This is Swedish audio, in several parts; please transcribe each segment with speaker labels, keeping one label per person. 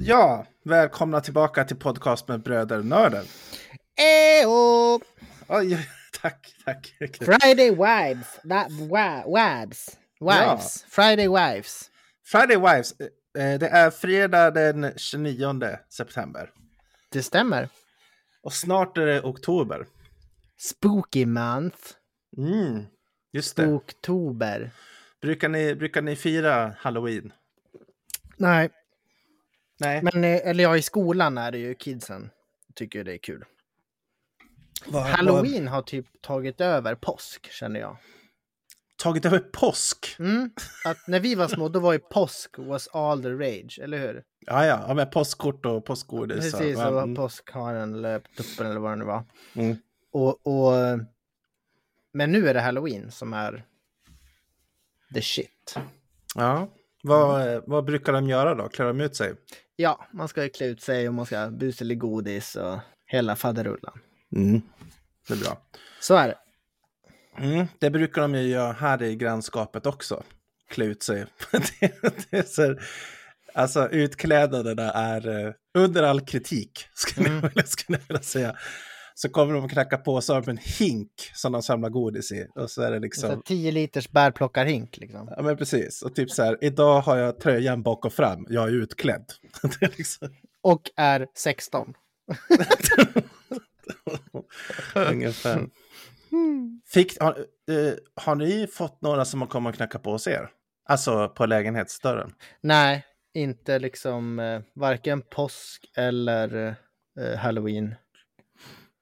Speaker 1: Ja, välkomna tillbaka till podcast med Bröder Nörden.
Speaker 2: Ejo!
Speaker 1: Oj, tack, tack.
Speaker 2: Friday Wives. Va, wa, wives. Wives. Friday Wives.
Speaker 1: Friday Wives, eh, det är fredag den 29 september.
Speaker 2: Det stämmer.
Speaker 1: Och snart är det oktober.
Speaker 2: Spooky month.
Speaker 1: Mm, just det.
Speaker 2: Oktober.
Speaker 1: Brukar ni, brukar ni fira halloween?
Speaker 2: Nej,
Speaker 1: Nej.
Speaker 2: men eh, eller ja, i skolan är det ju kidsen. Tycker ju det är kul.
Speaker 1: Vad- vad-
Speaker 2: Halloween har typ tagit över påsk känner jag.
Speaker 1: Tagit över påsk?
Speaker 2: Mm. Att när vi var små då var ju påsk was all the rage, eller hur?
Speaker 1: Ja, ja, ja med påskkort och påskgodis. och-
Speaker 2: Precis, och
Speaker 1: ja,
Speaker 2: var
Speaker 1: mm.
Speaker 2: påskharen eller tuppen eller vad det nu var.
Speaker 1: Mm.
Speaker 2: Och, och, men nu är det halloween som är the shit.
Speaker 1: Ja. Vad, eh, vad brukar de göra då? Klär de ut sig?
Speaker 2: Ja, man ska ju klä ut sig och man ska ha bus eller godis och hela faderullan. Mm.
Speaker 1: Det är bra.
Speaker 2: Så är det.
Speaker 1: Mm, det brukar de ju göra här i grannskapet också. Klä ut sig. det, det är så, här- alltså utklädnaderna är eh, under all kritik, skulle, jag, vilja- skulle jag vilja säga. Så kommer de och knackar på så har de en hink som de samlar godis i. Och så är det
Speaker 2: Så.
Speaker 1: liksom,
Speaker 2: 10 liters bärplockarhink liksom.
Speaker 1: ja men precis. Och typ så här, idag har jag tröjan bak och fram, jag är utklädd. det är liksom,
Speaker 2: Och är 16.
Speaker 1: ungefär. Fick, har, eh, har ni fått några som har kommit och knackat på hos er? Alltså på lägenhetsdörren?
Speaker 2: Nej, inte liksom eh, varken påsk eller eh, halloween.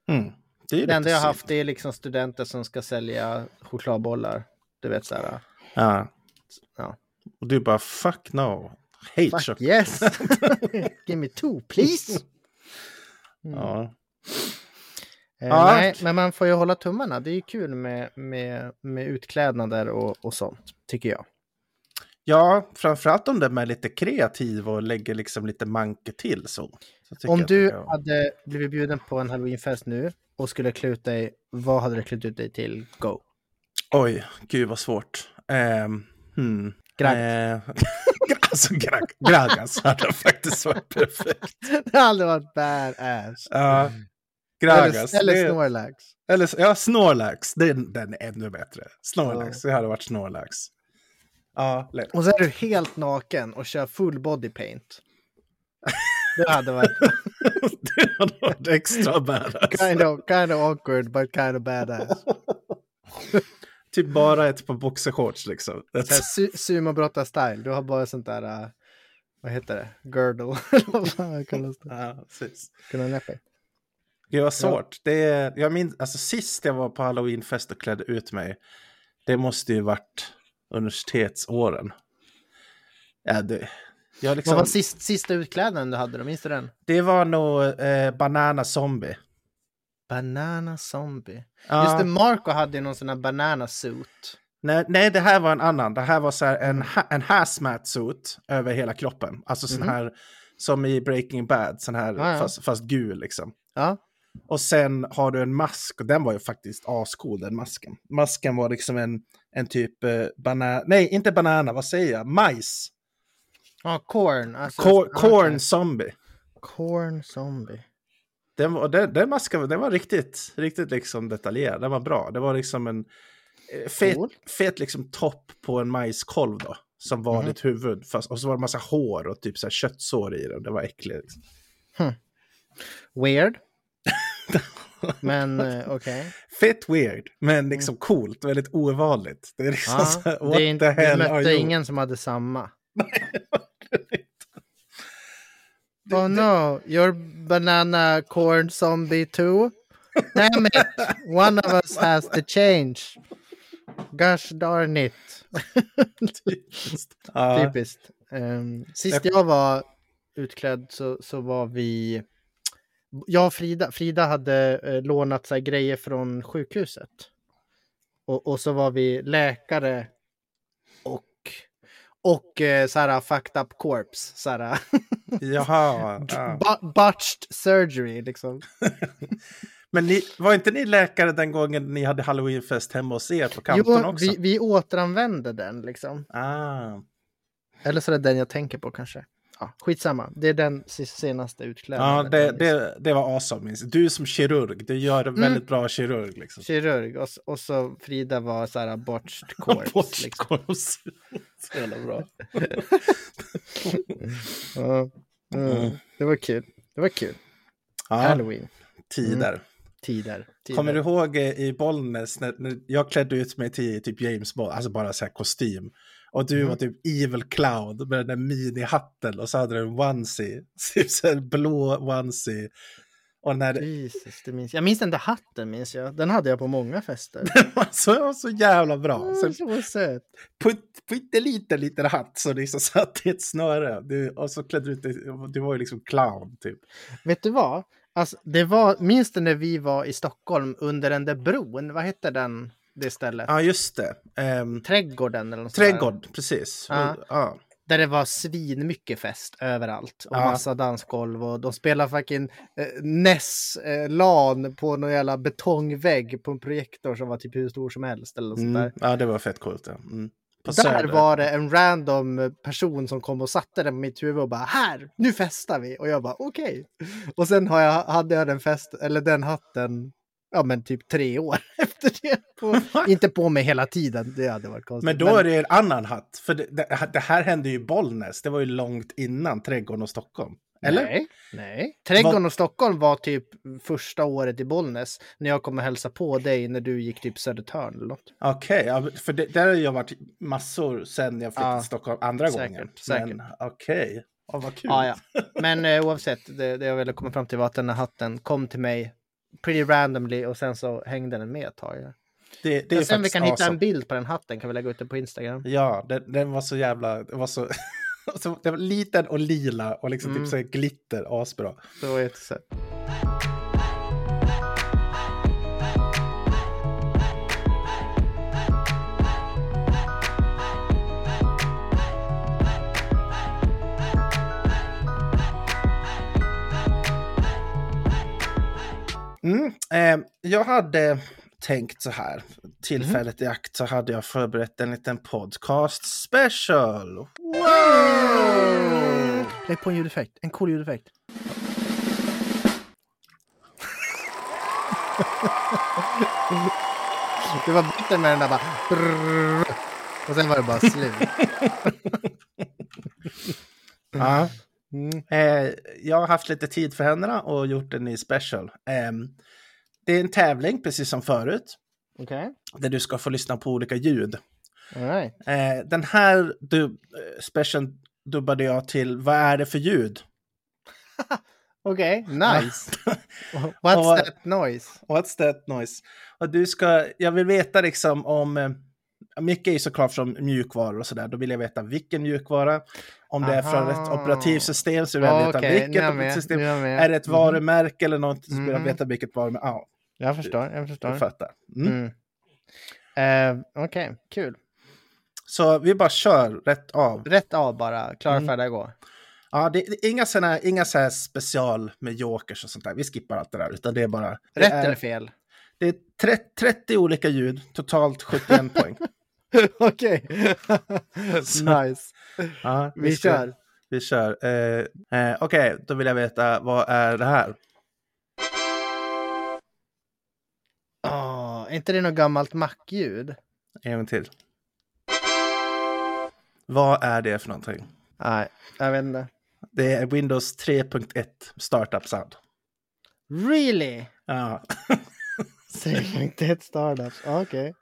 Speaker 1: Mm. Det är ju
Speaker 2: Det enda
Speaker 1: lite
Speaker 2: jag har
Speaker 1: synd.
Speaker 2: haft det är liksom studenter som ska sälja chokladbollar. Du vet så här.
Speaker 1: Ja.
Speaker 2: Ja.
Speaker 1: Och du bara fuck no. Hate
Speaker 2: Fuck
Speaker 1: chock-
Speaker 2: yes! Give me two please! Mm.
Speaker 1: Ja.
Speaker 2: Eh,
Speaker 1: Ja.
Speaker 2: Nej, men man får ju hålla tummarna. Det är ju kul med, med, med utklädnader och, och sånt, tycker jag.
Speaker 1: ja, framförallt om den är lite kreativ och lägger liksom lite manke till så. så tycker
Speaker 2: Om
Speaker 1: jag
Speaker 2: du
Speaker 1: att det kan-
Speaker 2: hade blivit bjuden på en halloweenfest nu och skulle klä ut dig, vad hade du klätt ut dig till? Go!
Speaker 1: Oj, gud vad svårt. Ehm, hmm.
Speaker 2: Gragg.
Speaker 1: Eh, alltså gragg, gragg alltså hade faktiskt varit perfekt.
Speaker 2: det hade varit badass!
Speaker 1: Ja. Gragg
Speaker 2: Eller,
Speaker 1: alltså.
Speaker 2: eller
Speaker 1: det-
Speaker 2: Snorlax.
Speaker 1: eller s- ja, Snorlax. Den, den är ännu bättre. Snorlax, det hade varit Snorlax. Ja, lätt.
Speaker 2: Och så är du helt naken och kör full body paint. Det hade varit
Speaker 1: det hade varit extra badass.
Speaker 2: kind of, kind of awkward but kind of badass.
Speaker 1: Typ bara ett par boxershorts liksom.
Speaker 2: Så här Su Sumobrottar-style, du har bara sånt där, eh, vad heter det, girdle. Eller vad fan kallas det?
Speaker 1: Ja, precis.
Speaker 2: Kundanäppe.
Speaker 1: Det var svårt. Det är, jag minns, alltså sist jag var på halloweenfest och klädde ut mig, det måste ju varit universitetsåren. Ja, det, jag
Speaker 2: Vad var
Speaker 1: liksom,
Speaker 2: sist, sista utklädnaden du hade då? Minns du den?
Speaker 1: det var nog eh, banana zombie.
Speaker 2: Banana zombie.
Speaker 1: Ja.
Speaker 2: Just det, Marco hade ju någon sån här banana suit.
Speaker 1: Nej, nej, det här var en annan. Det här var så här en, ha- en hazmat suit över hela kroppen. Alltså sån här som i Breaking Bad, sån här
Speaker 2: Ja, ja.
Speaker 1: Fast, fast gul liksom.
Speaker 2: Ja.
Speaker 1: Och sen har du en mask och den var ju faktiskt ascool den masken. Masken var liksom en, en typ eh, banan, nej inte banana, vad säger jag, majs.
Speaker 2: Ja, corn. Alltså,
Speaker 1: Cor-
Speaker 2: ja,
Speaker 1: corn
Speaker 2: okej.
Speaker 1: zombie.
Speaker 2: Corn zombie.
Speaker 1: Den, var, den, den masken var- den var riktigt, riktigt liksom detaljerad, den var bra. Det var liksom en eh, fet,
Speaker 2: Cool.
Speaker 1: fet liksom topp på en majskolv då. Som
Speaker 2: Mhm.
Speaker 1: var ditt huvud, fast, och så var det massa hår och typ så här köttsår i den. Det var äckligt. Liksom.
Speaker 2: Weird. Men eh, okej.
Speaker 1: Fett weird, men liksom coolt, väldigt ovanligt. Det är liksom
Speaker 2: Mm. Ja,
Speaker 1: så här, what
Speaker 2: det är inte-
Speaker 1: the hell
Speaker 2: vi
Speaker 1: are
Speaker 2: mötte
Speaker 1: you?
Speaker 2: ingen som hade samma. oh no, you're banana corn zombie too? Damn it, one of us has to change. Gosh darn it.
Speaker 1: Typiskt. Ja.
Speaker 2: Typiskt. Ehm, sist jag var utklädd så, så var vi... Jag och Frida, Frida hade eh, lånat så här, grejer från sjukhuset. Och, och så var vi läkare och eh, så här fucked up corpse. Så här,
Speaker 1: Jaha. ja.
Speaker 2: bu- botched surgery liksom.
Speaker 1: Men ni, var inte ni läkare den gången ni hade halloweenfest hemma hos er på kanten
Speaker 2: Jo,
Speaker 1: också?
Speaker 2: vi, vi återanvänder den liksom.
Speaker 1: Ah,
Speaker 2: Eller så är det den jag tänker på kanske. Ja, skitsamma, det är den si- senaste
Speaker 1: ja,
Speaker 2: utklädnaden.
Speaker 1: det, det, det var Mm. awesome. minns jag. Du som kirurg, du gör en väldigt bra kirurg. Liksom.
Speaker 2: Kirurg och, s- och så Frida var så här botched corpse. liksom.
Speaker 1: Korps. Så jävla bra.
Speaker 2: Ja, ja,
Speaker 1: Mm.
Speaker 2: Det var kul. Det var kul.
Speaker 1: Ja,
Speaker 2: Halloween.
Speaker 1: tider.
Speaker 2: Tider. Tider.
Speaker 1: Kommer du ihåg eh, i Bollnäs när, när jag klädde ut mig till typ James Bond, alltså bara så här kostym. Och
Speaker 2: Mm.
Speaker 1: du var typ Evil Clown med den där minihatten och så hade du en onesie, typ så här blå onesie. Och när det
Speaker 2: Jesus, det minns jag. jag minns den där hatten, minns jag. Den hade jag på många fester.
Speaker 1: var så, var så jävla bra. Så
Speaker 2: Mm, så söt.
Speaker 1: pytt- pytteliten liten hatt som liksom satt i ett snöre. Du, och så klädde du ut dig, du var ju liksom clown typ.
Speaker 2: Vet du vad? Alltså, det var, minns du när vi var i Stockholm under den där bron? Vad hette den, det stället?
Speaker 1: Ja, just det. Ehm,
Speaker 2: Trädgården eller något sånt där.
Speaker 1: trädgård, precis.
Speaker 2: Ja.
Speaker 1: Ja.
Speaker 2: Där det var svinmycket fest överallt. Och
Speaker 1: Ja.
Speaker 2: massa dansgolv och de spelar fucking eh, NES eh, LAN på någon jävla betongvägg på en projektor som var typ hur stor som helst eller något sånt där.
Speaker 1: Mm. ja, det var fett coolt. Ja. Mm. På
Speaker 2: Där
Speaker 1: Söder.
Speaker 2: var det en random person som kom och satte den på mitt huvud och bara här, nu festar vi. Och jag bara okej. Och sen har jag, hade jag den fest, eller den hatten, ja men typ tre år efter det. På, inte på mig hela tiden, det hade varit konstigt.
Speaker 1: Men då är det en annan hatt. För det, det, det här hände ju i Bollnäs. Det var ju långt innan Trädgården och Stockholm. Eller?
Speaker 2: Nej, nej. Trädgården
Speaker 1: Va-
Speaker 2: och Stockholm var typ första året i Bollnäs när jag kom och hälsade på dig när du gick typ Södertörn eller något.
Speaker 1: Okej, ja, för det, där har jag varit massor sen jag flyttade
Speaker 2: Ja,
Speaker 1: till Stockholm andra
Speaker 2: säkert,
Speaker 1: gången.
Speaker 2: säkert.
Speaker 1: Men okej, ja, vad kul.
Speaker 2: Ja, ja. Men eh, oavsett, det, det jag ville komma fram till var att den här hatten kom till mig pretty randomly och sen så hängde den med ett tag. Ja.
Speaker 1: Det, det är
Speaker 2: Men sen vi
Speaker 1: faktiskt
Speaker 2: kan hitta
Speaker 1: awesome.
Speaker 2: en bild på den hatten kan vi lägga ut den på Instagram.
Speaker 1: Ja, den, den var så jävla... Det var så... så- Den var liten och lila och liksom
Speaker 2: Mm.
Speaker 1: typ så här glitter, asbra.
Speaker 2: Det var jättesött.
Speaker 1: Mm. Eh, jag hade tänkt så här, tillfället
Speaker 2: Mhm.
Speaker 1: i akt så hade jag förberett en liten podcast special.
Speaker 2: Mm.
Speaker 1: Wow!
Speaker 2: Lägg på en ljudeffekt, en cool ljudeffekt. Det var bättre med den där bara... brrrr. Och sen var det bara slut.
Speaker 1: Ja.
Speaker 2: Mm.
Speaker 1: Eh, jag har haft lite tid för händerna och gjort en ny special. Ehm, det är en tävling, precis som förut,
Speaker 2: Okej,
Speaker 1: där du ska få lyssna på olika ljud.
Speaker 2: alright.
Speaker 1: Eh, den här du, eh, specialen dubbade jag till Vad är det för ljud?
Speaker 2: Okej, nice. What's
Speaker 1: Och-
Speaker 2: that noise?
Speaker 1: What's that noise? Och du ska, jag vill veta liksom om... eh, Mycket är ju såklart från mjukvaror och sådär. Då vill jag veta vilken mjukvara. Om det är från
Speaker 2: Aha.
Speaker 1: ett operativsystem så vill jag veta
Speaker 2: Okej, nu är jag
Speaker 1: vilket
Speaker 2: med,
Speaker 1: operativsystem.
Speaker 2: nu är jag med.
Speaker 1: Är det ett
Speaker 2: Mhm.
Speaker 1: varumärke eller något så vill jag
Speaker 2: Mhm.
Speaker 1: veta vilket varumärke. Ja,
Speaker 2: Jag förstår, jag
Speaker 1: du
Speaker 2: förstår.
Speaker 1: fattar. Mm.
Speaker 2: Mm. Eh, Okej, kul.
Speaker 1: Så vi bara kör rätt av.
Speaker 2: Rätt av bara, klara, färdiga, gå.
Speaker 1: Ja, det, det, inga sådana inga så här special med jokers och sånt där. Vi skippar allt det där. Utan det är bara... det
Speaker 2: Rätt
Speaker 1: är,
Speaker 2: eller fel?
Speaker 1: Det är 30, 30 olika ljud, totalt 71 poäng.
Speaker 2: Okej. nice.
Speaker 1: Ja,
Speaker 2: Vi
Speaker 1: ska-
Speaker 2: kör.
Speaker 1: Vi kör. Eh, eh, Okej, då vill jag veta vad är det här?
Speaker 2: Åh, Ah, är inte det något gammalt mackljud?
Speaker 1: En gång till. Vad är det för någonting?
Speaker 2: Nej, jag vet inte.
Speaker 1: Det är Windows 3.1 Startup Sound.
Speaker 2: Really?
Speaker 1: Ja,
Speaker 2: Säger jag inte ett startup. Okej.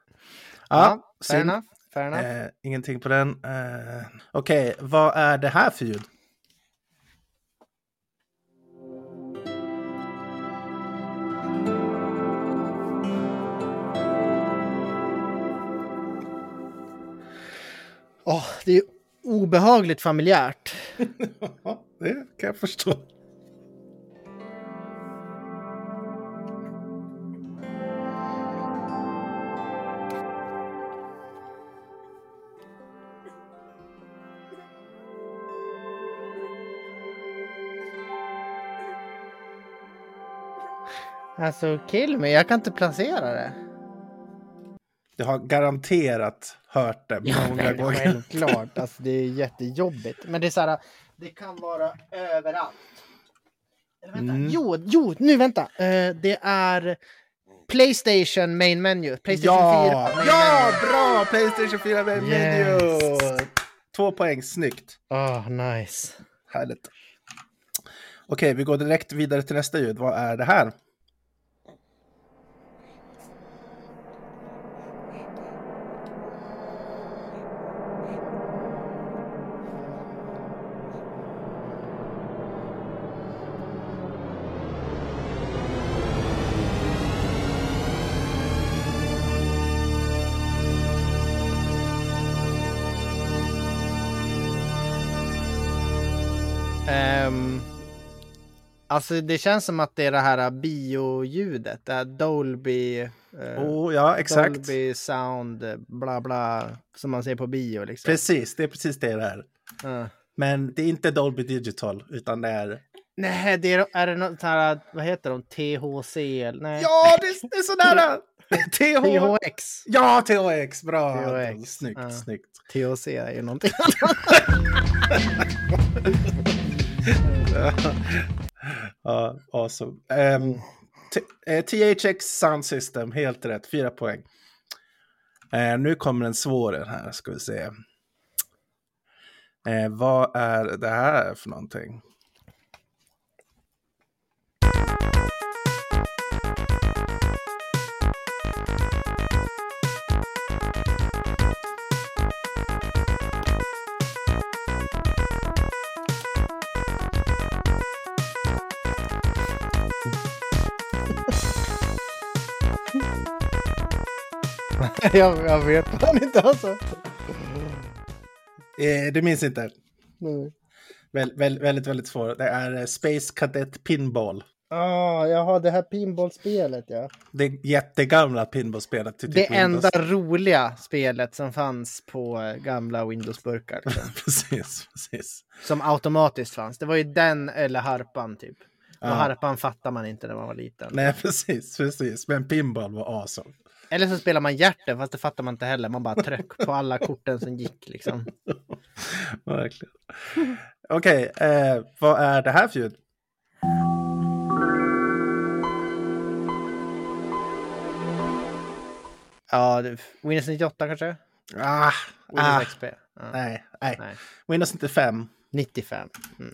Speaker 1: ja
Speaker 2: fair
Speaker 1: synd.
Speaker 2: enough. Fair enough.
Speaker 1: Eh, ingenting på den. Eh, Okej, vad är det här för ljud?
Speaker 2: Åh, det är ju obehagligt familjärt.
Speaker 1: Ja, det kan jag förstå.
Speaker 2: Alltså, kill me. Jag kan inte placera det.
Speaker 1: Du har garanterat hört det många
Speaker 2: men
Speaker 1: gånger.
Speaker 2: självklart. Alltså, det är jättejobbigt. Men det är så här, det kan vara överallt. Eller vänta.
Speaker 1: Mm.
Speaker 2: Jo, jo, nu vänta. Eh, det är Playstation main menu. Playstation
Speaker 1: Ja!
Speaker 2: 4 main
Speaker 1: ja,
Speaker 2: menu.
Speaker 1: bra! Playstation 4 med menu!
Speaker 2: Yes.
Speaker 1: Två poäng, snyggt.
Speaker 2: Ah, nice.
Speaker 1: Härligt. Okej, vi går direkt vidare till nästa ljud. Vad är det här?
Speaker 2: Ehm, alltså, det känns som att det är det här bioljudet. Det här Dolby... eh,
Speaker 1: Oh, ja, exakt.
Speaker 2: Dolby sound, eh, bla bla, som man ser på bio liksom. Ah.
Speaker 1: Precis, det är precis det det är.
Speaker 2: Ja.
Speaker 1: Men det är inte Dolby Digital, utan det är...
Speaker 2: Eh. Nej, det är, är det något här, vad heter de, THC? eller- Nej.
Speaker 1: Ja, det är, det är så nära! TH...
Speaker 2: THX.
Speaker 1: Ja, THX, bra!
Speaker 2: THX,
Speaker 1: Snyggt,
Speaker 2: ja.
Speaker 1: snyggt.
Speaker 2: THC är ju någonting.
Speaker 1: Ja, awesome. Ehm, t- eh, THX Sound System, helt rätt. Fyra poäng. Eh, nu kommer en svår här, ska vi se. Eh, vad är det här för någonting?
Speaker 2: jag, jag vet fan inte alltså.
Speaker 1: Eh, du minns inte?
Speaker 2: Nej.
Speaker 1: Väl, väl, väldigt, väldigt svår. Det är eh, Space Cadet Pinball.
Speaker 2: Ah, jaha, det här pinbollspelet ja.
Speaker 1: Det jättegamla pinballspelet. till
Speaker 2: Det
Speaker 1: typ Windows.
Speaker 2: enda roliga spelet som fanns på eh, gamla Windows-burkar. liksom.
Speaker 1: precis, precis.
Speaker 2: Som automatiskt fanns. Det var ju den eller harpan typ. Och
Speaker 1: Ja.
Speaker 2: harpan fattar man inte när man var liten.
Speaker 1: Nej, precis, precis. Men pinball var awesome.
Speaker 2: Eller så spelar man hjärten, fast det fattar man inte heller. Man bara tryck på alla korten som gick liksom.
Speaker 1: Verkligen. Okej, eh, vad är det här för ljud?
Speaker 2: Ja, det- Windows 98 kanske?
Speaker 1: Ah,
Speaker 2: Windows
Speaker 1: ah,
Speaker 2: XP? Ja.
Speaker 1: nej, nej.
Speaker 2: Nej.
Speaker 1: Windows 95
Speaker 2: 95.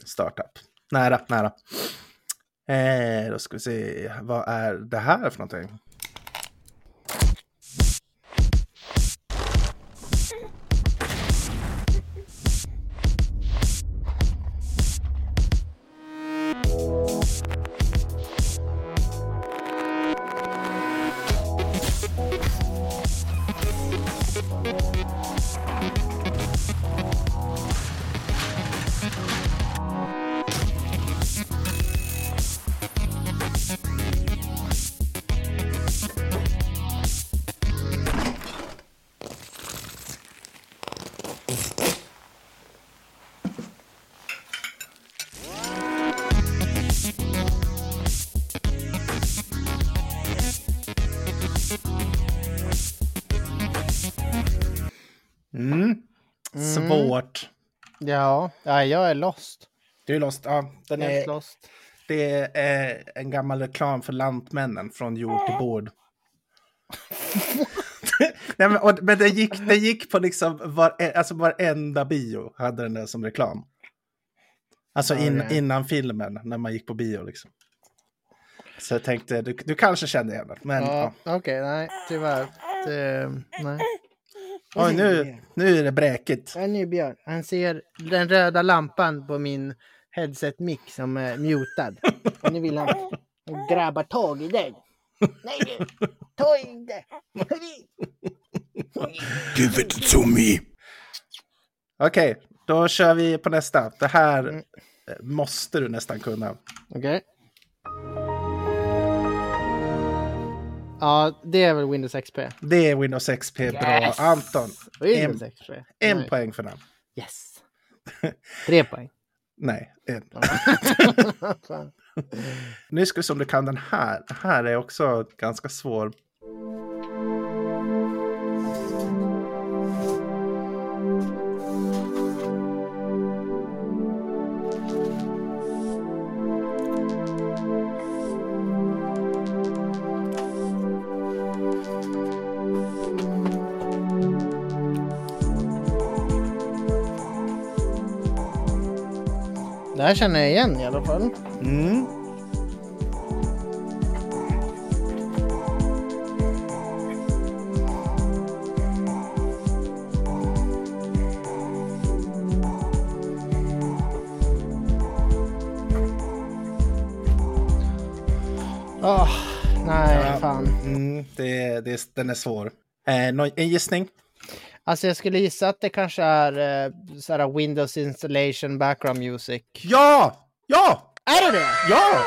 Speaker 1: startup. Nära, nära. Eh, då ska vi se, vad är det här för någonting? Mm. Svårt.
Speaker 2: Ja, ja, jag är lost. Eh,
Speaker 1: Du är lost. Ja, den
Speaker 2: Helt
Speaker 1: är,
Speaker 2: lost.
Speaker 1: det är eh, en gammal reklam för Lantmännen från jord till bord. Nej, men, och, men den gick, den gick på liksom var, alltså varenda bio hade den där som reklam. Alltså in,
Speaker 2: Okej.
Speaker 1: innan filmen, när man gick på bio liksom. Så jag tänkte, du, du kanske kände igen den, men ja.
Speaker 2: Ja, Okej, nej, tyvärr. Det, nej.
Speaker 1: Oj, nu, nu är det bräkigt.
Speaker 2: En ny björn. Han ser den röda lampan på min headset-mick som är mutad. Och nu vill han han grabbar tag i den. Nej du, ta inte!
Speaker 1: Give it to me! Okej, då kör vi på nästa. Det här
Speaker 2: Mm.
Speaker 1: eh, måste du nästan kunna.
Speaker 2: Okej. Ja, det är väl Windows XP.
Speaker 1: Det är Windows XP. Bra,
Speaker 2: Yes!
Speaker 1: Anton.
Speaker 2: Windows
Speaker 1: En-
Speaker 2: XP.
Speaker 1: En
Speaker 2: Nej.
Speaker 1: poäng för den.
Speaker 2: Yes. Tre poäng.
Speaker 1: Nej, en.
Speaker 2: Fan.
Speaker 1: Nu ska vi se om du kan den här. Den här är också ganska svår.
Speaker 2: Det här känner jag igen i alla fall.
Speaker 1: Mm.
Speaker 2: Ah, nej,
Speaker 1: Ja.
Speaker 2: fan.
Speaker 1: Mm, det, det, den är svår. Eh, nå- en gissning?
Speaker 2: Alltså jag skulle gissa att det kanske är eh, så här Windows installation background music.
Speaker 1: Ja! Ja!
Speaker 2: Är det det?
Speaker 1: Ja!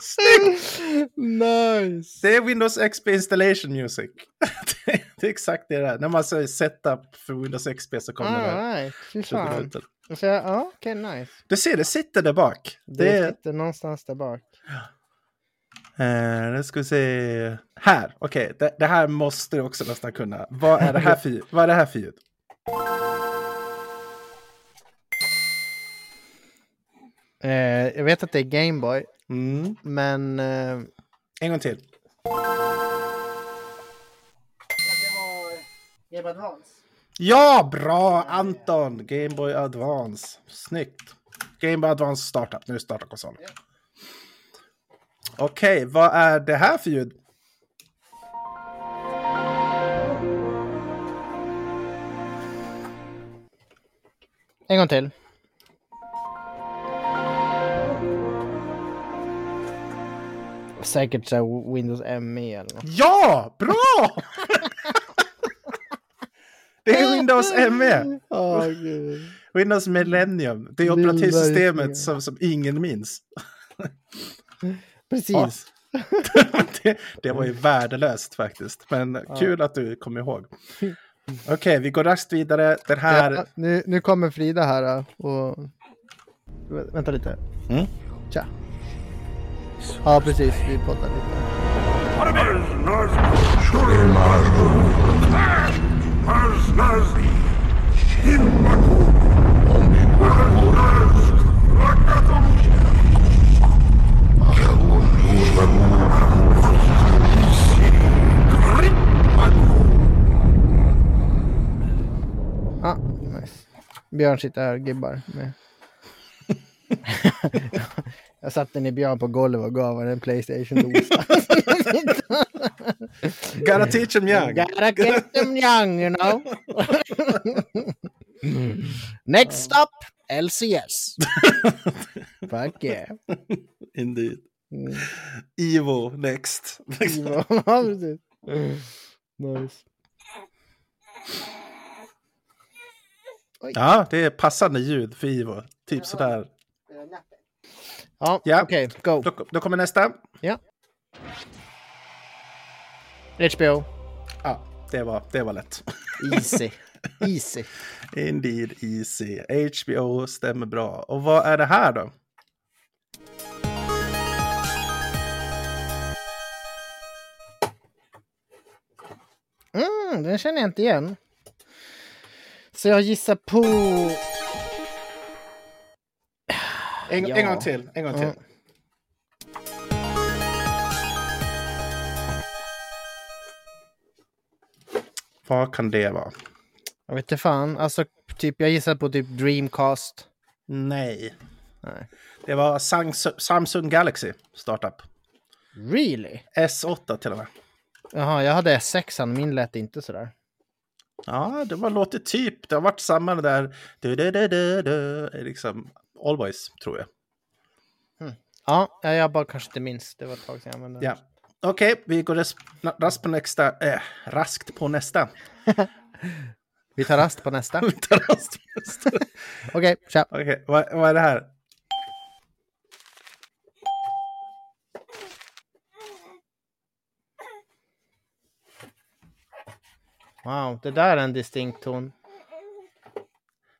Speaker 1: Snyggt!
Speaker 2: nice!
Speaker 1: Det är Windows XP Installation Music. det, är- det är exakt det där. När man säger setup för Windows XP så kommer det.
Speaker 2: Alright, fy fan.
Speaker 1: trudelutten.
Speaker 2: Så jag- Ja, okej, nice.
Speaker 1: Du ser, det sitter där bak.
Speaker 2: Det,
Speaker 1: Det,
Speaker 2: sitter någonstans där bak.
Speaker 1: eh, nu ska vi se. Här, okej. Det, det här måste du också nästan kunna. Vad är det här för ljud? Vad är det här för ljud?
Speaker 2: Eh, jag vet att det är Gameboy,
Speaker 1: Mm.
Speaker 2: men... Eh,
Speaker 1: En gång till.
Speaker 2: Game Advance.
Speaker 1: Ja, bra Anton! Game Boy Advance. Snyggt. Game Boy Advance startup. Nu startar konsolen. Okej, vad är det här för ljud?
Speaker 2: En gång till. Säkert så här Windows ME eller något.
Speaker 1: Ja, bra! det är Windows E. ME.
Speaker 2: Åh gud.
Speaker 1: Windows Millennium. Det är
Speaker 2: Windows Millennium.
Speaker 1: operativsystemet som, som ingen minns. Ja.
Speaker 2: Precis.
Speaker 1: det, det var ju värdelöst faktiskt. Men kul att du kom ihåg. Okej, vi går raskt vidare. Den här...
Speaker 2: Ja, eh, nu, nu kommer Frida här äh, och... Vä- Vänta lite.
Speaker 1: Mm.
Speaker 2: Tja. Ja, precis. Vi poddar lite. Ja, nice. Björn sitter här och gibbar. Med. Jag satte ner Björn på golvet och gav honom en Playstation-dosa.
Speaker 1: Gotta teach 'em young.
Speaker 2: Gotta get them young, you know. Next up, LCS. Fuck yeah.
Speaker 1: Indeed.
Speaker 2: Mm.
Speaker 1: Ivo next.
Speaker 2: Ja, precis. Nice.
Speaker 1: ja, det är passande ljud för Ivo. Typ sådär.
Speaker 2: Ja,
Speaker 1: Ja.
Speaker 2: okej. Go.
Speaker 1: Då, då kommer nästa.
Speaker 2: Ja. HBO.
Speaker 1: Ja, det var, det var lätt.
Speaker 2: Easy. Easy.
Speaker 1: Indeed easy. HBO stämmer bra. Och vad är det här då?
Speaker 2: Mm, den känner jag inte igen. Så jag gissar på...
Speaker 1: En,
Speaker 2: Ja.
Speaker 1: en gång till. En gång till.
Speaker 2: Mm.
Speaker 1: Vad kan det vara?
Speaker 2: Jag vet inte fan. Alltså, typ, jag gissar på typ Dreamcast.
Speaker 1: Nej.
Speaker 2: Nej.
Speaker 1: Det var Samsung, Samsung Galaxy startup.
Speaker 2: Really?
Speaker 1: S8 till och med.
Speaker 2: Jaha, jag hade S6an. Min lät inte sådär.
Speaker 1: Ja, det var låter typ. Det har varit samma det där. Du, du, du, du, du, liksom, always, tror jag.
Speaker 2: Ja, ja, jag bara kanske inte minns. Det var ett tag sedan jag använde den.
Speaker 1: Ja. Okej, vi går ras- na- raskt på nästa. Eh, raskt på nästa.
Speaker 2: Vi tar rast på nästa.
Speaker 1: Vi tar raskt på nästa.
Speaker 2: Okej, tja.
Speaker 1: Okej, vad, vad är det här?
Speaker 2: Wow, det där är en distinkt ton.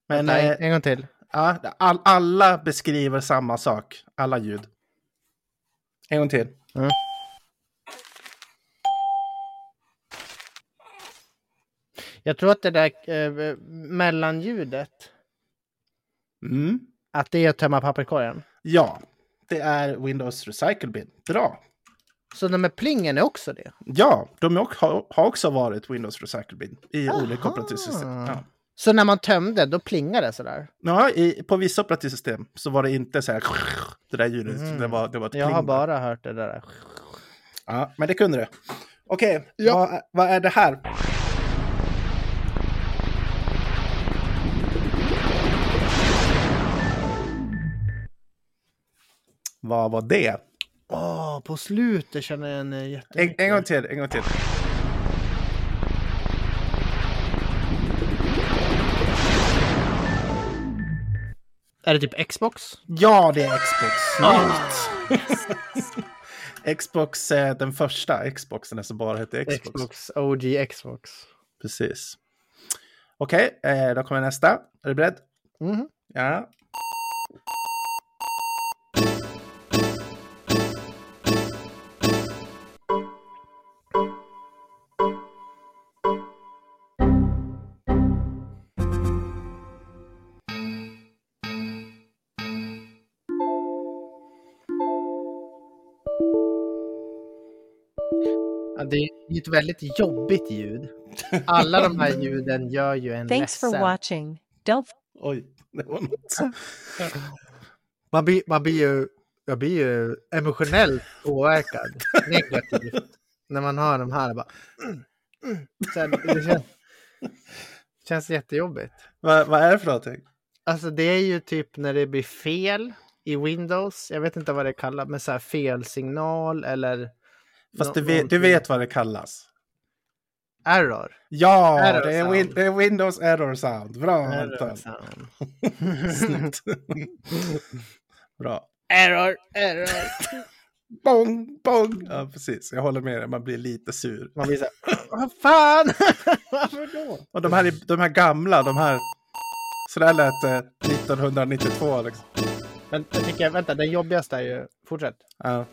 Speaker 1: Men
Speaker 2: Nej,
Speaker 1: eh,
Speaker 2: en gång till.
Speaker 1: Ja, all, alla beskriver samma sak, alla ljud. En gång till.
Speaker 2: Mm. Jag tror att det där eh, mellanljudet,
Speaker 1: Mm.
Speaker 2: att det är att tömma papperskorgen.
Speaker 1: Ja, det är Windows Recycle Bin. Bra!
Speaker 2: Så de med plingen är också det.
Speaker 1: Ja, de är och- har har också varit Windows Recycle Bin i olika
Speaker 2: Aha.
Speaker 1: operativsystem. Ja.
Speaker 2: Så när man tömde, då plingade det sådär.
Speaker 1: Ja, i, på vissa operativsystem så var det inte så här det där ljudet. utan Det var, det var ett
Speaker 2: Jag
Speaker 1: pling
Speaker 2: har
Speaker 1: där.
Speaker 2: bara hört det där.
Speaker 1: Ja, men det kunde det. Okej,
Speaker 2: Ja.
Speaker 1: vad, vad är det här? Vad var det?
Speaker 2: Åh, på slutet känner jag en eh,
Speaker 1: En,
Speaker 2: jättemycket.
Speaker 1: en gång till, en gång till.
Speaker 2: Är det typ Xbox?
Speaker 1: Ja, det är Xbox. Xbox, eh, den första Xboxen som bara hette Xbox.
Speaker 2: OG Xbox.
Speaker 1: Precis. Okej, eh, då kommer nästa. Är du beredd?
Speaker 2: Mhm.
Speaker 1: Ja.
Speaker 2: Ja, det är ju ett väldigt jobbigt ljud. Alla de här ljuden gör ju en
Speaker 3: Thanks for
Speaker 2: ledsen.
Speaker 3: watching. Don't
Speaker 1: Oj, det var något.
Speaker 2: Man blir, man blir ju, jag blir ju emotionellt påverkad negativt när man hör de här. Bara, mm, mm. Så här, det känns, känns jättejobbigt.
Speaker 1: Vad, vad är det för någonting?
Speaker 2: Alltså det är ju typ när det blir fel i Windows. Jag vet inte vad det kallas, men så här fel signal eller...
Speaker 1: Fast du,
Speaker 2: nå-
Speaker 1: vet, du
Speaker 2: någonting.
Speaker 1: vet vad det kallas.
Speaker 2: Error.
Speaker 1: Ja,
Speaker 2: Error
Speaker 1: det, är
Speaker 2: sound.
Speaker 1: win, det är Windows Error Sound. Bra,
Speaker 2: Error.
Speaker 1: Anton.
Speaker 2: sound.
Speaker 1: Snyggt. Bra.
Speaker 2: Error. error.
Speaker 1: Bong, bong. Ja, precis. Jag håller med dig, man blir lite sur.
Speaker 2: Man blir så här, vad fan! Varför då?
Speaker 1: Och de här, är- de här gamla, de här... Så där lät det 1992. Liksom.
Speaker 2: Men jag tycker, vänta, den jobbigaste är ju... Fortsätt.
Speaker 1: Ja.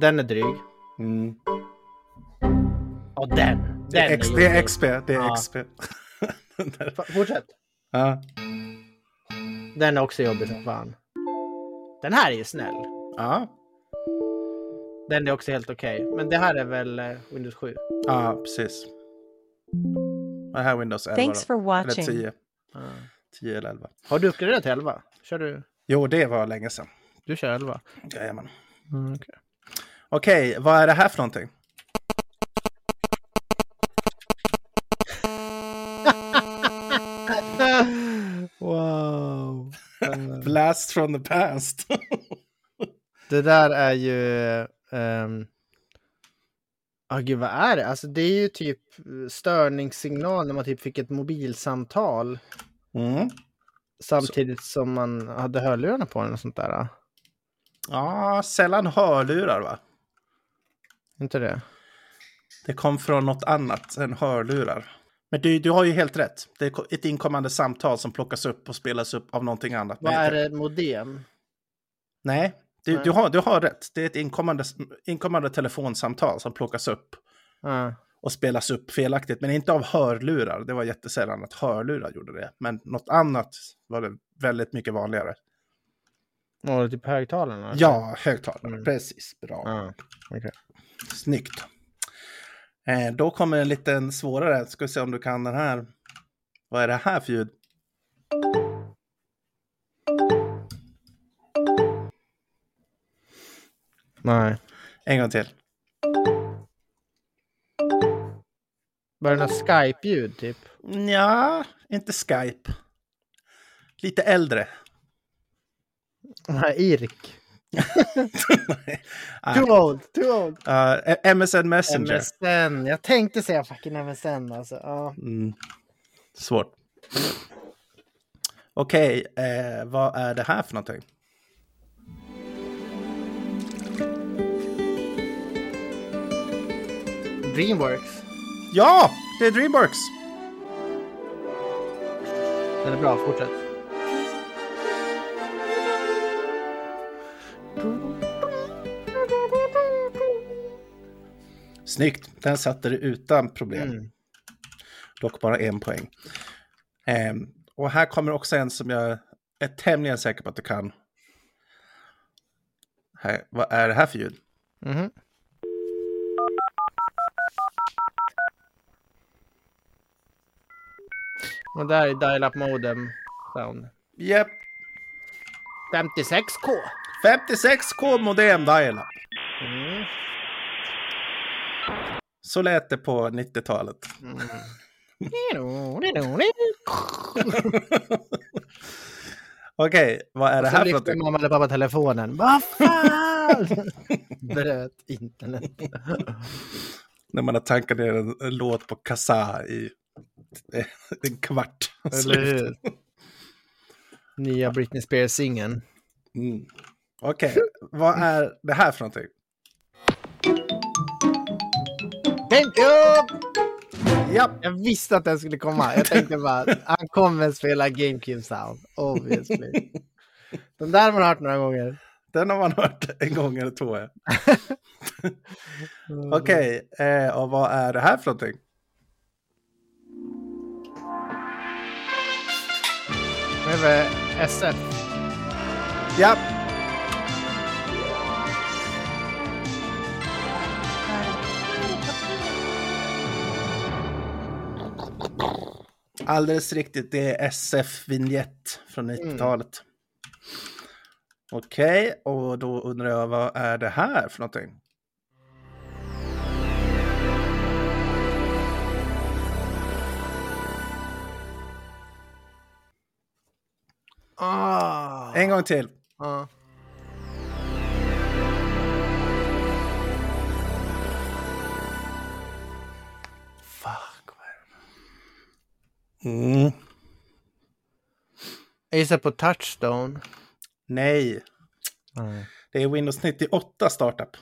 Speaker 2: Den är dryg.
Speaker 1: Mm.
Speaker 2: Ja, den!
Speaker 1: Det,
Speaker 2: Den
Speaker 1: är X, det är
Speaker 2: jobbig.
Speaker 1: XP. Det är
Speaker 2: Ja.
Speaker 1: XP. Den där.
Speaker 2: F- Fortsätt.
Speaker 1: ja.
Speaker 2: Den är också jobbig som fan. Den här är ju snäll.
Speaker 1: Ja.
Speaker 2: Den är också helt okej. Men det här är väl eh, Windows 7?
Speaker 1: ja, precis. Det här är Windows 11.
Speaker 3: Thanks
Speaker 1: då.
Speaker 3: for
Speaker 1: Eller
Speaker 3: watching.
Speaker 1: 10. 10 eller 11.
Speaker 2: Har du uppgraderat till 11? Kör du?
Speaker 1: Jo, det var länge sedan.
Speaker 2: Du kör 11?
Speaker 1: Jajamän.
Speaker 2: Mm, okej.
Speaker 1: Okej, vad är det här för någonting?
Speaker 2: Wow!
Speaker 1: Blast from the past.
Speaker 2: Det där är ju... ehm, Ja, gud, vad är det? Alltså, det är ju typ störningssignal när man typ fick ett mobilsamtal
Speaker 1: mm.
Speaker 2: samtidigt som man hade hörlurarna på den och sånt där.
Speaker 1: Ja, sällan hörlurar va?
Speaker 2: Inte det?
Speaker 1: Det kom från något annat än hörlurar. Men du, du har ju helt rätt. Det är ko- ett inkommande samtal som plockas upp och spelas upp av någonting annat.
Speaker 2: Vad
Speaker 1: Nej,
Speaker 2: är det? Modem?
Speaker 1: Nej, du,
Speaker 2: Nej.
Speaker 1: du, har, du har rätt. Det är ett inkommande, inkommande telefonsamtal som plockas upp
Speaker 2: Ja.
Speaker 1: och spelas upp felaktigt. Men inte av hörlurar. Det var jättesällan att hörlurar gjorde det. Men något annat var det väldigt mycket vanligare.
Speaker 2: Och typ högtalarna?
Speaker 1: Ja, högtalare.
Speaker 2: Mm.
Speaker 1: Precis, bra.
Speaker 2: Ja.
Speaker 1: Snyggt. Eh, då kommer en liten svårare. Ska vi se om du kan den här. Vad är det här för ljud?
Speaker 2: Nej.
Speaker 1: En gång till.
Speaker 2: Var det något Skype-ljud typ?
Speaker 1: Ja, inte Skype. Lite äldre.
Speaker 2: Nej, IRK.
Speaker 1: Ah,
Speaker 2: Too old, too old.
Speaker 1: eh, MSN Messenger.
Speaker 2: MSN. Jag tänkte säga fucking MSN alltså. Ja.
Speaker 1: Mm. Svårt. Okej, eh, vad är det här för någonting?
Speaker 2: Dreamworks.
Speaker 1: Ja, det är Dreamworks!
Speaker 2: Den är bra, fortsätt.
Speaker 1: Snyggt, den satte du utan problem.
Speaker 2: Mm.
Speaker 1: Dock bara en poäng. Ehm, och här kommer också en som jag är tämligen säker på att du kan. Här, vad är det här för ljud?
Speaker 2: Mhm. Och där är dial-up modem sound.
Speaker 1: Japp,
Speaker 2: 56k.
Speaker 1: 56k modem dial-up.
Speaker 2: Mm.
Speaker 1: Så lät det på 90-talet. Okej, vad är det
Speaker 2: Och så
Speaker 1: här för
Speaker 2: lyfte
Speaker 1: någonting?
Speaker 2: mamma eller pappa telefonen. Vad fan! Bröt internet.
Speaker 1: När man har tankat ner en, en låt på kassa i eh, en kvart.
Speaker 2: Eller hur? Nya Britney Spears-singeln.
Speaker 1: Mm. Okej, vad är det här för någonting?
Speaker 2: Tänk upp!
Speaker 1: Japp!
Speaker 2: Jag visste att den skulle komma. Jag tänkte bara, han kommer spela GameCube Sound. Obviously. Den där har man hört några gånger.
Speaker 1: Den har man hört en gång eller två. ja. Okej, eh, och vad är det här för någonting?
Speaker 2: Det är väl SF.
Speaker 1: Ja, alldeles riktigt. Det är SF-vinjett från
Speaker 2: Mm.
Speaker 1: 90-talet. Okej, och då undrar jag vad är det här för någonting?
Speaker 2: Ah.
Speaker 1: En gång till.
Speaker 2: Ah. Fuck. vad är
Speaker 1: Mm.
Speaker 2: det? Jag gissar på Touchstone.
Speaker 1: Nej, det är Windows 98 startup.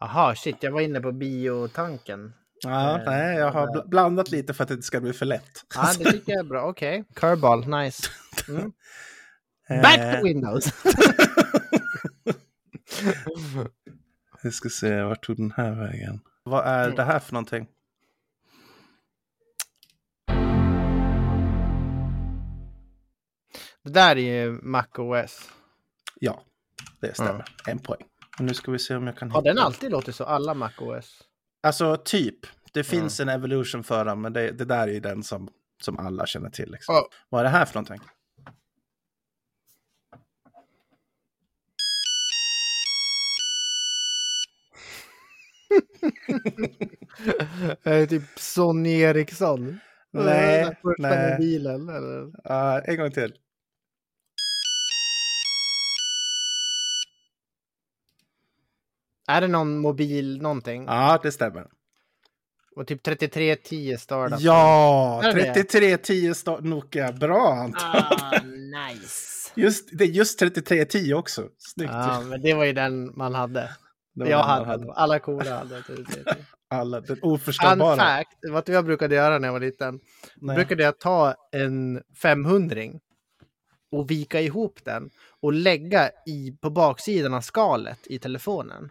Speaker 2: Aha, shit, jag var inne på biotanken.
Speaker 1: Ja,
Speaker 2: Eh, Ah,
Speaker 1: nej, jag har bl- blandat lite för att det inte ska bli för lätt.
Speaker 2: Ja, det tycker jag är bra. Okej. Curveball, nice. Mm.
Speaker 1: Eh,
Speaker 2: Back to Windows!
Speaker 1: Vi ska se, vart tog den här vägen? Vad är
Speaker 2: Mm.
Speaker 1: det här för någonting?
Speaker 2: Det där är ju Mac OS.
Speaker 1: Ja, det stämmer. En poäng. Och nu ska vi se om jag kan
Speaker 2: Mm. Har den alltid låtit så? Alla Mac OS?
Speaker 1: Alltså typ. Det finns en evolution för den, men det, det där är ju den som, som alla känner till. Liksom.
Speaker 2: Ja.
Speaker 1: Vad är det här för någonting?
Speaker 2: Eh, typ Sonny Eriksson.
Speaker 1: Nej,
Speaker 2: Den där första
Speaker 1: nej.
Speaker 2: mobilen. Eller?
Speaker 1: Ja, Eh, en gång till.
Speaker 2: Är det någon mobil någonting?
Speaker 1: Ja, det stämmer.
Speaker 2: Och typ 3310 Startup.
Speaker 1: Ja,
Speaker 2: Är det?
Speaker 1: 3310 sta- Nokia. Bra Anton.
Speaker 2: Ah, nice!
Speaker 1: Just, det är just 3310 också. Snyggt.
Speaker 2: Ja, men det var ju den man hade.
Speaker 1: Det var
Speaker 2: jag
Speaker 1: den man
Speaker 2: hade, den. Alla coola hade 3310.
Speaker 1: Alla, den
Speaker 2: Fun
Speaker 1: oförståbara.
Speaker 2: fact, vad jag brukade göra när jag var liten.
Speaker 1: Nej.
Speaker 2: brukade jag ta en 500 och vika ihop den och lägga i, på baksidan av skalet i telefonen.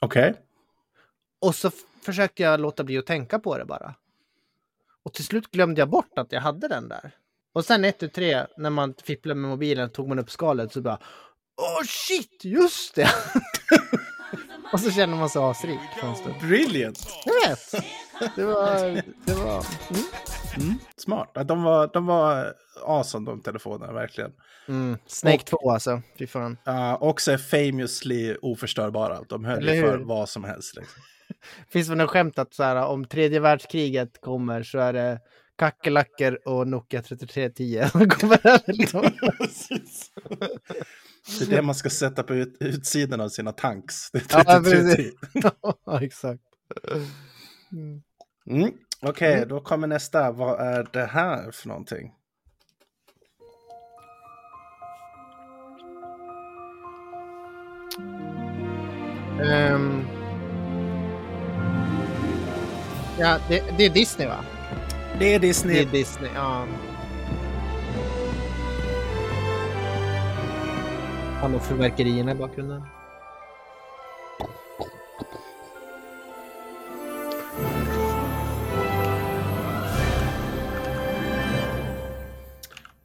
Speaker 1: Okej.
Speaker 2: Och så f- försökte jag låta bli att tänka på det bara. Och till slut glömde jag bort att jag hade den där. Och sen ett, tu, tre, när man fipplade med mobilen tog man upp skalet så bara Åh shit, just det! och så känner man sig asrik för en stund.
Speaker 1: Brilliant.
Speaker 2: Jag vet! Det var... Det var... Mm.
Speaker 1: Smart. Ja, De var, de var awesome de telefonerna, verkligen.
Speaker 2: Mm. Snake 2 alltså, fy fan.
Speaker 1: Uh, också är famously oförstörbara. De höll
Speaker 2: Eller
Speaker 1: ju för
Speaker 2: hur?
Speaker 1: vad som helst. Liksom.
Speaker 2: Finns det något skämt att så här, om tredje världskriget kommer så är det kackerlackor och Nokia 3310. som kommer över, liksom.
Speaker 1: Det är det man ska sätta på ut, utsidan av sina tanks. Det är typ
Speaker 2: Ja,
Speaker 1: 33.
Speaker 2: precis. ja, exakt.
Speaker 1: Mm. Okej, då kommer nästa. Vad är det här för någonting?
Speaker 2: Ehm. Ja, det, det är Disney va?
Speaker 1: Det är
Speaker 2: Det
Speaker 1: Disney.
Speaker 2: Mm. är Disney, ja. Han har fyrverkerierna i bakgrunden.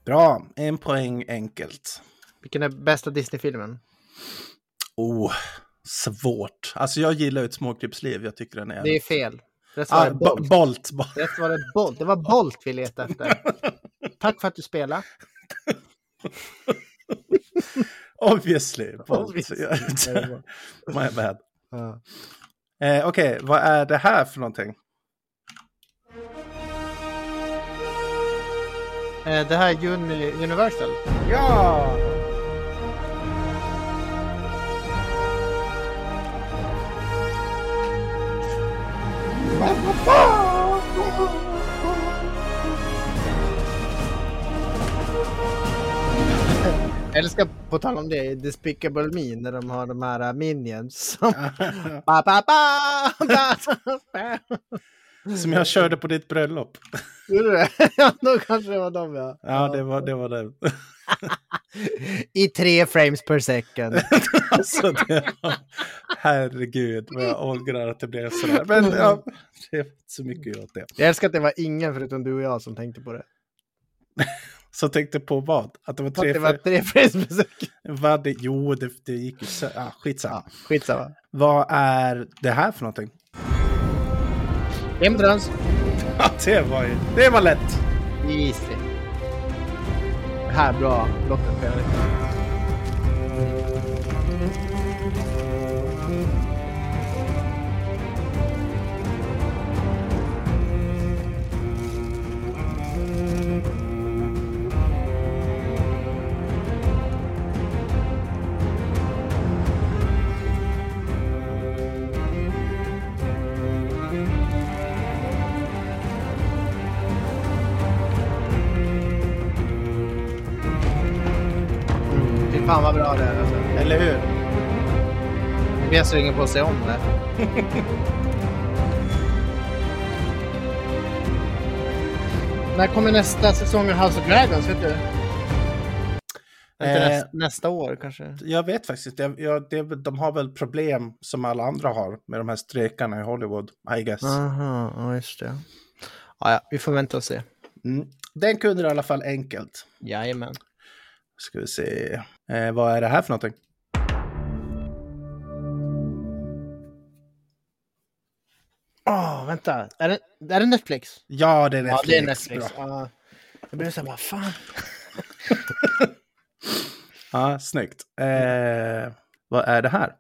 Speaker 1: Bra, en poäng enkelt.
Speaker 2: Vilken är bästa Disney-filmen?
Speaker 1: Oh, svårt. Alltså jag gillar ju ett småkrypsliv. Jag tycker den är...
Speaker 2: Det är fel. Rätt svar
Speaker 1: ah,
Speaker 2: är
Speaker 1: bo-
Speaker 2: Bolt.
Speaker 1: Bolt. Bo-
Speaker 2: Rätt svar är Bolt. Det var Bolt vi letade efter. Tack för att du spelade.
Speaker 1: Obviously. Bolt.
Speaker 2: Obviously.
Speaker 1: My bad. Eh, Okej, vad är det här för någonting?
Speaker 2: Eh, Det här är Uni- Universal.
Speaker 1: Ja!
Speaker 2: Jag älskar, på tal om det, Despicable Me när de har de här äh, minions som... Ba, ba, ba, ba, ba.
Speaker 1: Som jag körde på ditt bröllop.
Speaker 2: Gjorde du det? Ja, då kanske det var de ja.
Speaker 1: Ja, det var det. Var det.
Speaker 2: I tre frames per second.
Speaker 1: Alltså, det var... Herregud, vad jag ångrar att det blev sådär. Men ja, det är inte så mycket åt det.
Speaker 2: Jag älskar att det var ingen förutom du och jag som tänkte på det.
Speaker 1: Så tänkte på vad? Att det var
Speaker 2: Att
Speaker 1: tre...
Speaker 2: det var tre frames per second.
Speaker 1: Vad det... Jo, det, det gick ju så... Ah, skitsamma.
Speaker 2: Ja, skitsamma.
Speaker 1: Vad är det här för någonting?
Speaker 2: Hemtrans.
Speaker 1: Ja, det var ju... Det var lätt!
Speaker 2: Easy. Det här är bra. Lotten spelar lite. Fy fan vad bra det är alltså.
Speaker 1: Eller hur?
Speaker 2: Jag blir sugen på att se om det. När kommer nästa säsong av House of Dragons? Vet du? Inte
Speaker 1: Eh.
Speaker 2: nästa, nästa år kanske?
Speaker 1: Jag vet faktiskt inte. Jag, jag, det, är väl- de har väl problem som alla andra har med de här strekarna i Hollywood, I guess.
Speaker 2: Aha, ja just det. Ja, ja, vi får vänta och se.
Speaker 1: Mm. Den kunde du i alla fall enkelt.
Speaker 2: Jajamän.
Speaker 1: Ska vi se. Eh, vad är det här för någonting?
Speaker 2: Åh, vänta. Är det, är det Netflix?
Speaker 1: Ja, det är
Speaker 2: Ja,
Speaker 1: Netflix.
Speaker 2: det är Netflix.
Speaker 1: Bra.
Speaker 2: Ja. Jag blev såhär, vad fan.
Speaker 1: Ja, snyggt. Eh, vad är det här?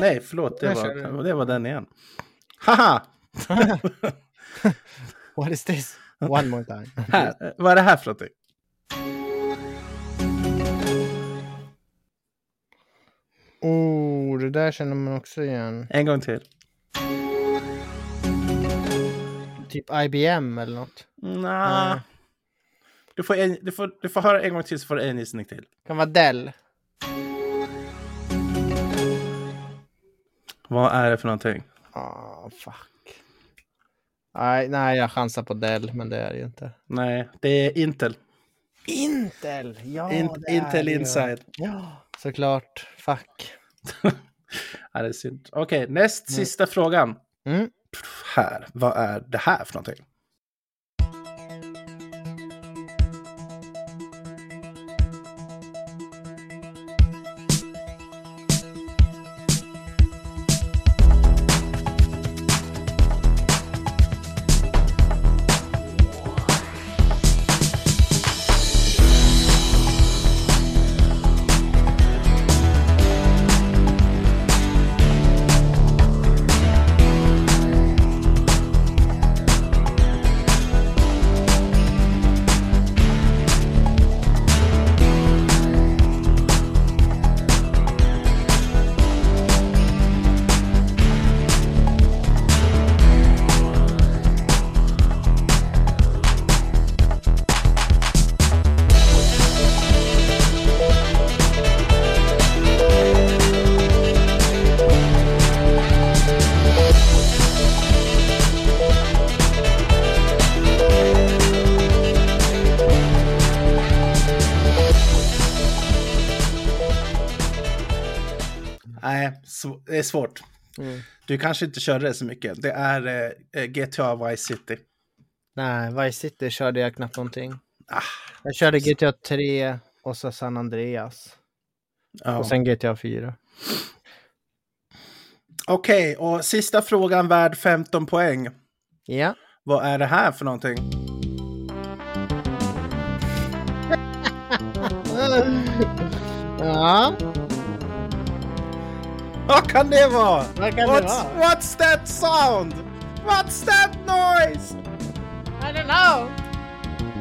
Speaker 1: Nej, förlåt. Det
Speaker 2: Där kör
Speaker 1: var, det var den igen. Haha!
Speaker 2: What is this? One more time.
Speaker 1: Här. Eh, Vad är det här för någonting?
Speaker 2: Oh, det där känner man också igen.
Speaker 1: En gång till.
Speaker 2: Typ IBM eller något.
Speaker 1: Nja.
Speaker 2: Nej.
Speaker 1: Du, får en, du, får, du får höra en gång till så får du en gissning till.
Speaker 2: Kan vara Dell.
Speaker 1: Vad är det för någonting?
Speaker 2: Ah, fuck. Nej, nej, jag chansar på Dell, men det är det ju inte.
Speaker 1: Nej, det är Intel.
Speaker 2: Intel! Ja,
Speaker 1: In,
Speaker 2: det är
Speaker 1: Intel
Speaker 2: det ju.
Speaker 1: Inside.
Speaker 2: Ja, såklart. Fuck.
Speaker 1: Ja, det är synd. Okej, näst sista frågan.
Speaker 2: Mm.
Speaker 1: Här, vad är det här för någonting? sv- det är svårt.
Speaker 2: Mm.
Speaker 1: Du kanske inte körde det så mycket. Det är eh, eh, GTA Vice City.
Speaker 2: Nej, Vice City körde jag knappt någonting.
Speaker 1: Ah,
Speaker 2: Jag körde GTA 3 och så San Andreas.
Speaker 1: ja.
Speaker 2: Och sen GTA 4.
Speaker 1: Okej, och sista frågan värd 15 poäng.
Speaker 2: Ja.
Speaker 1: Vad är det här för någonting?
Speaker 2: Ja,
Speaker 1: Vad kan det vara?
Speaker 2: vad kan det
Speaker 1: What's,
Speaker 2: vara?
Speaker 1: what's that sound? What's that noise?
Speaker 2: I don't know.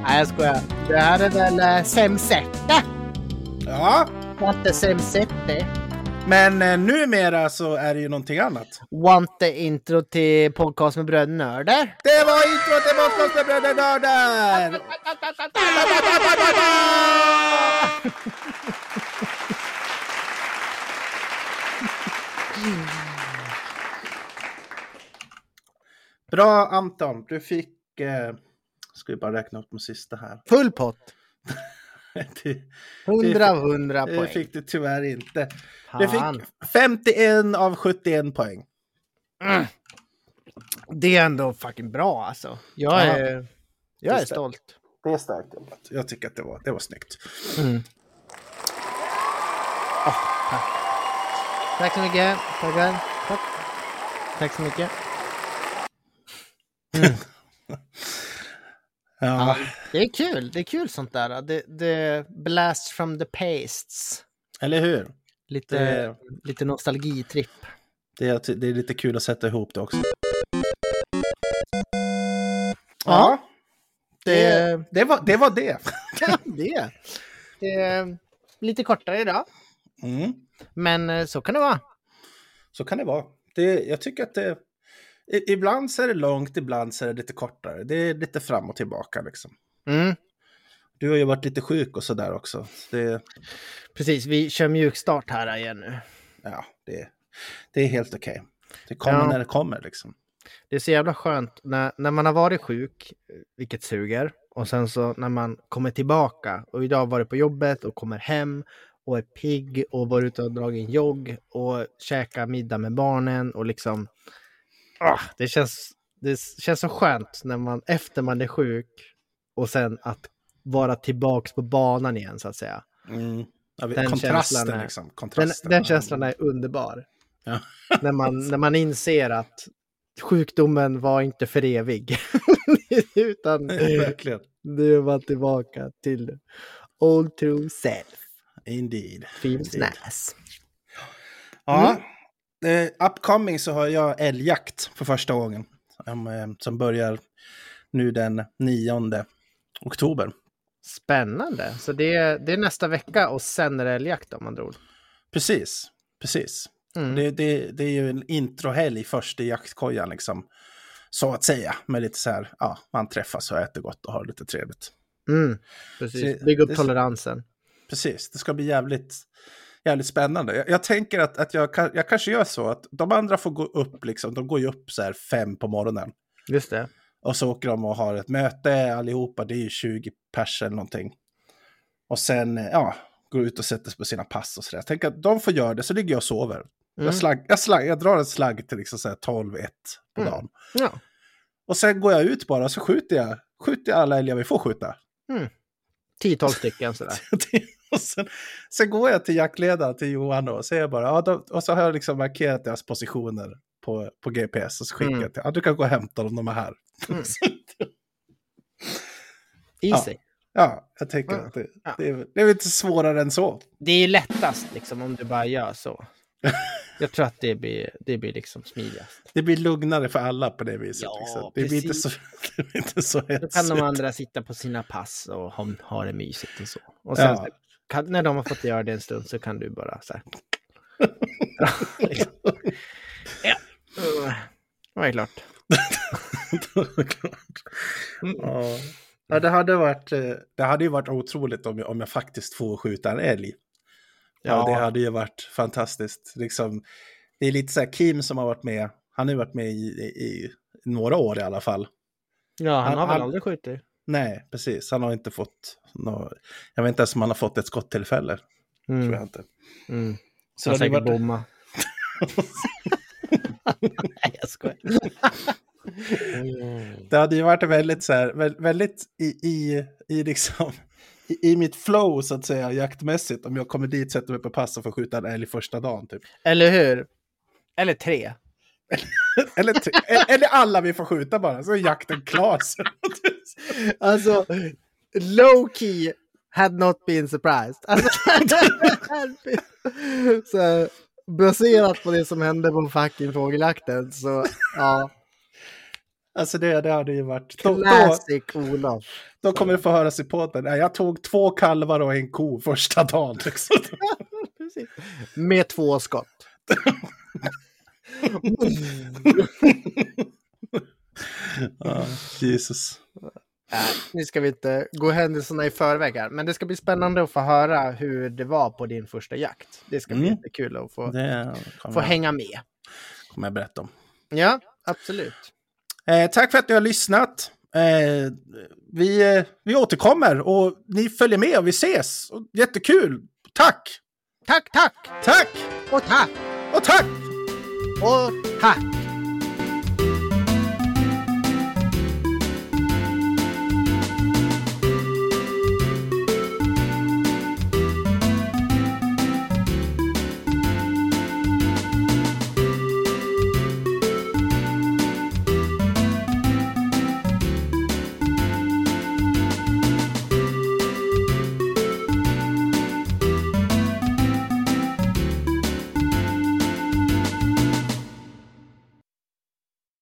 Speaker 2: Nej, jag skojar. Det här är väl eh, Semsette?
Speaker 1: Ja,
Speaker 2: Want the Semsette?
Speaker 1: men eh, numera så är det ju någonting annat.
Speaker 2: Want the intro till podcast med brödnörder?
Speaker 1: Det var introt till Bottnas med Bröder Nördar! Bra Anton, du fick... Eh, ska vi bara räkna upp de sista här.
Speaker 2: Full pott.
Speaker 1: Det-
Speaker 2: 100 av 100
Speaker 1: Det
Speaker 2: poäng.
Speaker 1: fick du tyvärr inte. Du
Speaker 2: Fan.
Speaker 1: fick 51 av 71 poäng.
Speaker 2: Det är ändå fucking bra alltså. Jag
Speaker 1: Ja.
Speaker 2: är, jag är
Speaker 1: Just det.
Speaker 2: stolt.
Speaker 1: Det är starkt jobbat. Jag tycker att det var, det var snyggt.
Speaker 2: Tack så mycket. Tackar. Tack. Tack så mycket.
Speaker 1: Ja,
Speaker 2: Det är kul. Det är kul sånt där. Det, det blast from the pastes.
Speaker 1: eller hur?
Speaker 2: Lite,
Speaker 1: Det-
Speaker 2: lite nostalgitripp.
Speaker 1: Det är, det är lite kul att sätta ihop det också.
Speaker 2: Ja.
Speaker 1: Ja, det, det, var, det var det.
Speaker 2: det. det är lite kortare idag.
Speaker 1: Mm,
Speaker 2: Men eh, så kan det vara.
Speaker 1: så kan det vara. Det, jag tycker att det... i- Ibland så är det långt, ibland så är det lite kortare. Det är lite fram och tillbaka liksom.
Speaker 2: Mm.
Speaker 1: Du har ju varit lite sjuk och sådär också. Så det,
Speaker 2: Precis, vi kör mjukstart här igen nu.
Speaker 1: ja, det, det är helt okej. Det kommer
Speaker 2: Ja.
Speaker 1: när det kommer liksom.
Speaker 2: Det är så jävla skönt när, när man har varit sjuk, vilket suger, och sen så när man kommer tillbaka och idag har jag varit på jobbet och kommer hem och är pigg och varit ute och dragit en jogg och käka middag med barnen och liksom. Ah, det, känns, det känns så skönt när man efter man är sjuk och sen att vara tillbaks på banan igen så att säga.
Speaker 1: Mm. Ja, vi-
Speaker 2: Den
Speaker 1: kontrasten
Speaker 2: känslan är-
Speaker 1: liksom.
Speaker 2: Den,
Speaker 1: Kontrasten.
Speaker 2: den känslan är underbar.
Speaker 1: Ja.
Speaker 2: när, man, när man inser att sjukdomen var inte för evig. Utan
Speaker 1: Verkligen.
Speaker 2: nu är man tillbaka till old true self.
Speaker 1: Indeed.
Speaker 2: Feels
Speaker 1: Indeed.
Speaker 2: nice.
Speaker 1: Ja. Mm. Eh, upcoming så har jag älgjakt för första gången. Som, eh, som börjar nu den 9 oktober.
Speaker 2: Spännande. Så det är, det är nästa vecka och sen är det älgjakt om man tror.
Speaker 1: Precis, precis.
Speaker 2: Mm.
Speaker 1: Det, det, det är ju en introhelg först i jaktkojan liksom. Så att säga, med lite så här, ja, man träffas och äter gott och har lite trevligt.
Speaker 2: Mm. Precis.
Speaker 1: Så-
Speaker 2: Bygga upp
Speaker 1: det-
Speaker 2: toleransen.
Speaker 1: Precis, det ska bli jävligt, jävligt spännande. Jag, jag tänker att, att jag, kan- jag kanske gör så att de andra får gå upp, liksom, de går ju upp så här fem på morgonen.
Speaker 2: Just det.
Speaker 1: Och så åker de och har ett möte allihopa, det är ju 20 pers eller någonting. Och sen, eh, ja, går ut och sätter sig på sina pass och sådär. Tänk att de får göra det, så ligger jag och sover.
Speaker 2: Mm.
Speaker 1: Jag, slagg, jag, slagg, jag drar en slagg till liksom så här 12-1 på
Speaker 2: Mm.
Speaker 1: dagen.
Speaker 2: Ja.
Speaker 1: Och sen går jag ut bara och så skjuter jag, skjuter jag alla älgar vi får skjuta.
Speaker 2: 10-12 stycken sådär.
Speaker 1: och sen, sen går jag till jaktledaren, till Johan då, och säger bara, ja, då, och så har jag liksom markerat deras positioner på, på GPS och så skickar
Speaker 2: Mm.
Speaker 1: jag till, ja, du kan gå och hämta dem, de är här.
Speaker 2: Mm. Easy.
Speaker 1: ja, jag tänker
Speaker 2: Ja.
Speaker 1: att det,
Speaker 2: Ja.
Speaker 1: det, är, det är lite svårare än så.
Speaker 2: Det är ju lättast liksom om du bara gör så. Jag tror att det blir, det blir liksom smidigast.
Speaker 1: Det blir lugnare för alla på det viset.
Speaker 2: Ja,
Speaker 1: liksom. det, blir inte
Speaker 2: precis.
Speaker 1: så, det blir inte så
Speaker 2: Då kan de
Speaker 1: hetsigt.
Speaker 2: andra sitta på sina pass och ha, ha det mysigt och så. Och sen
Speaker 1: Ja.
Speaker 2: kan, när de har fått göra det en stund så kan du bara så här. ja. Mm. Det var ju klart. Mm.
Speaker 1: Ja. Ja, det hade, varit, eh, det hade ju varit otroligt om jag, om jag faktiskt får skjuta en älg. Ja.
Speaker 2: Ja.
Speaker 1: det hade ju varit fantastiskt. Liksom, det är lite så här, Kim som har varit med, han har ju varit med i, i, i några år i alla fall.
Speaker 2: Ja, han,
Speaker 1: Han-
Speaker 2: har väl
Speaker 1: han-
Speaker 2: aldrig skjutit?
Speaker 1: Nej, precis, han har inte fått nå jag vet inte ens om han har fått ett skottillfälle, tror
Speaker 2: Mm.
Speaker 1: jag inte.
Speaker 2: Mm.
Speaker 1: Så
Speaker 2: Han har
Speaker 1: det hade ju
Speaker 2: säkert
Speaker 1: varit,
Speaker 2: bommat. Nej, jag skojar.
Speaker 1: Det hade ju varit väldigt så här, vä- väldigt i, i, i liksom, i, i mitt flow så att säga, jaktmässigt, om jag kommer dit, sätter mig på pass och får skjuta en älg första dagen typ.
Speaker 2: Eller hur? Eller tre.
Speaker 1: Eller, t- eller alla vi får skjuta bara, så är jakten klar. sen.
Speaker 2: Alltså, low key had not been surprised. Alltså, så, baserat på det som hände på fucking fågeljakten så ja,
Speaker 1: alltså det, det hade ju varit... Då, då,
Speaker 2: classic Olof.
Speaker 1: då kommer du få höra sig på den. Jag tog två kalvar och en ko första dagen. Liksom.
Speaker 2: Precis. Med två skott.
Speaker 1: Ja, Jesus.
Speaker 2: Nej, nu ska vi inte gå händelserna i förväg här, men det ska bli spännande att få höra hur det var på din första jakt. Det ska bli
Speaker 1: Mm.
Speaker 2: jättekul att få,
Speaker 1: Det kommer,
Speaker 2: få
Speaker 1: jag,
Speaker 2: hänga med.
Speaker 1: kommer jag berätta om.
Speaker 2: Ja, absolut.
Speaker 1: Eh, tack för att ni har lyssnat. Eh, vi, eh, vi återkommer och ni följer med och vi ses. Och Jättekul! Tack!
Speaker 2: Tack, tack
Speaker 1: Tack!
Speaker 2: och tack
Speaker 1: Och tack!
Speaker 2: och tack.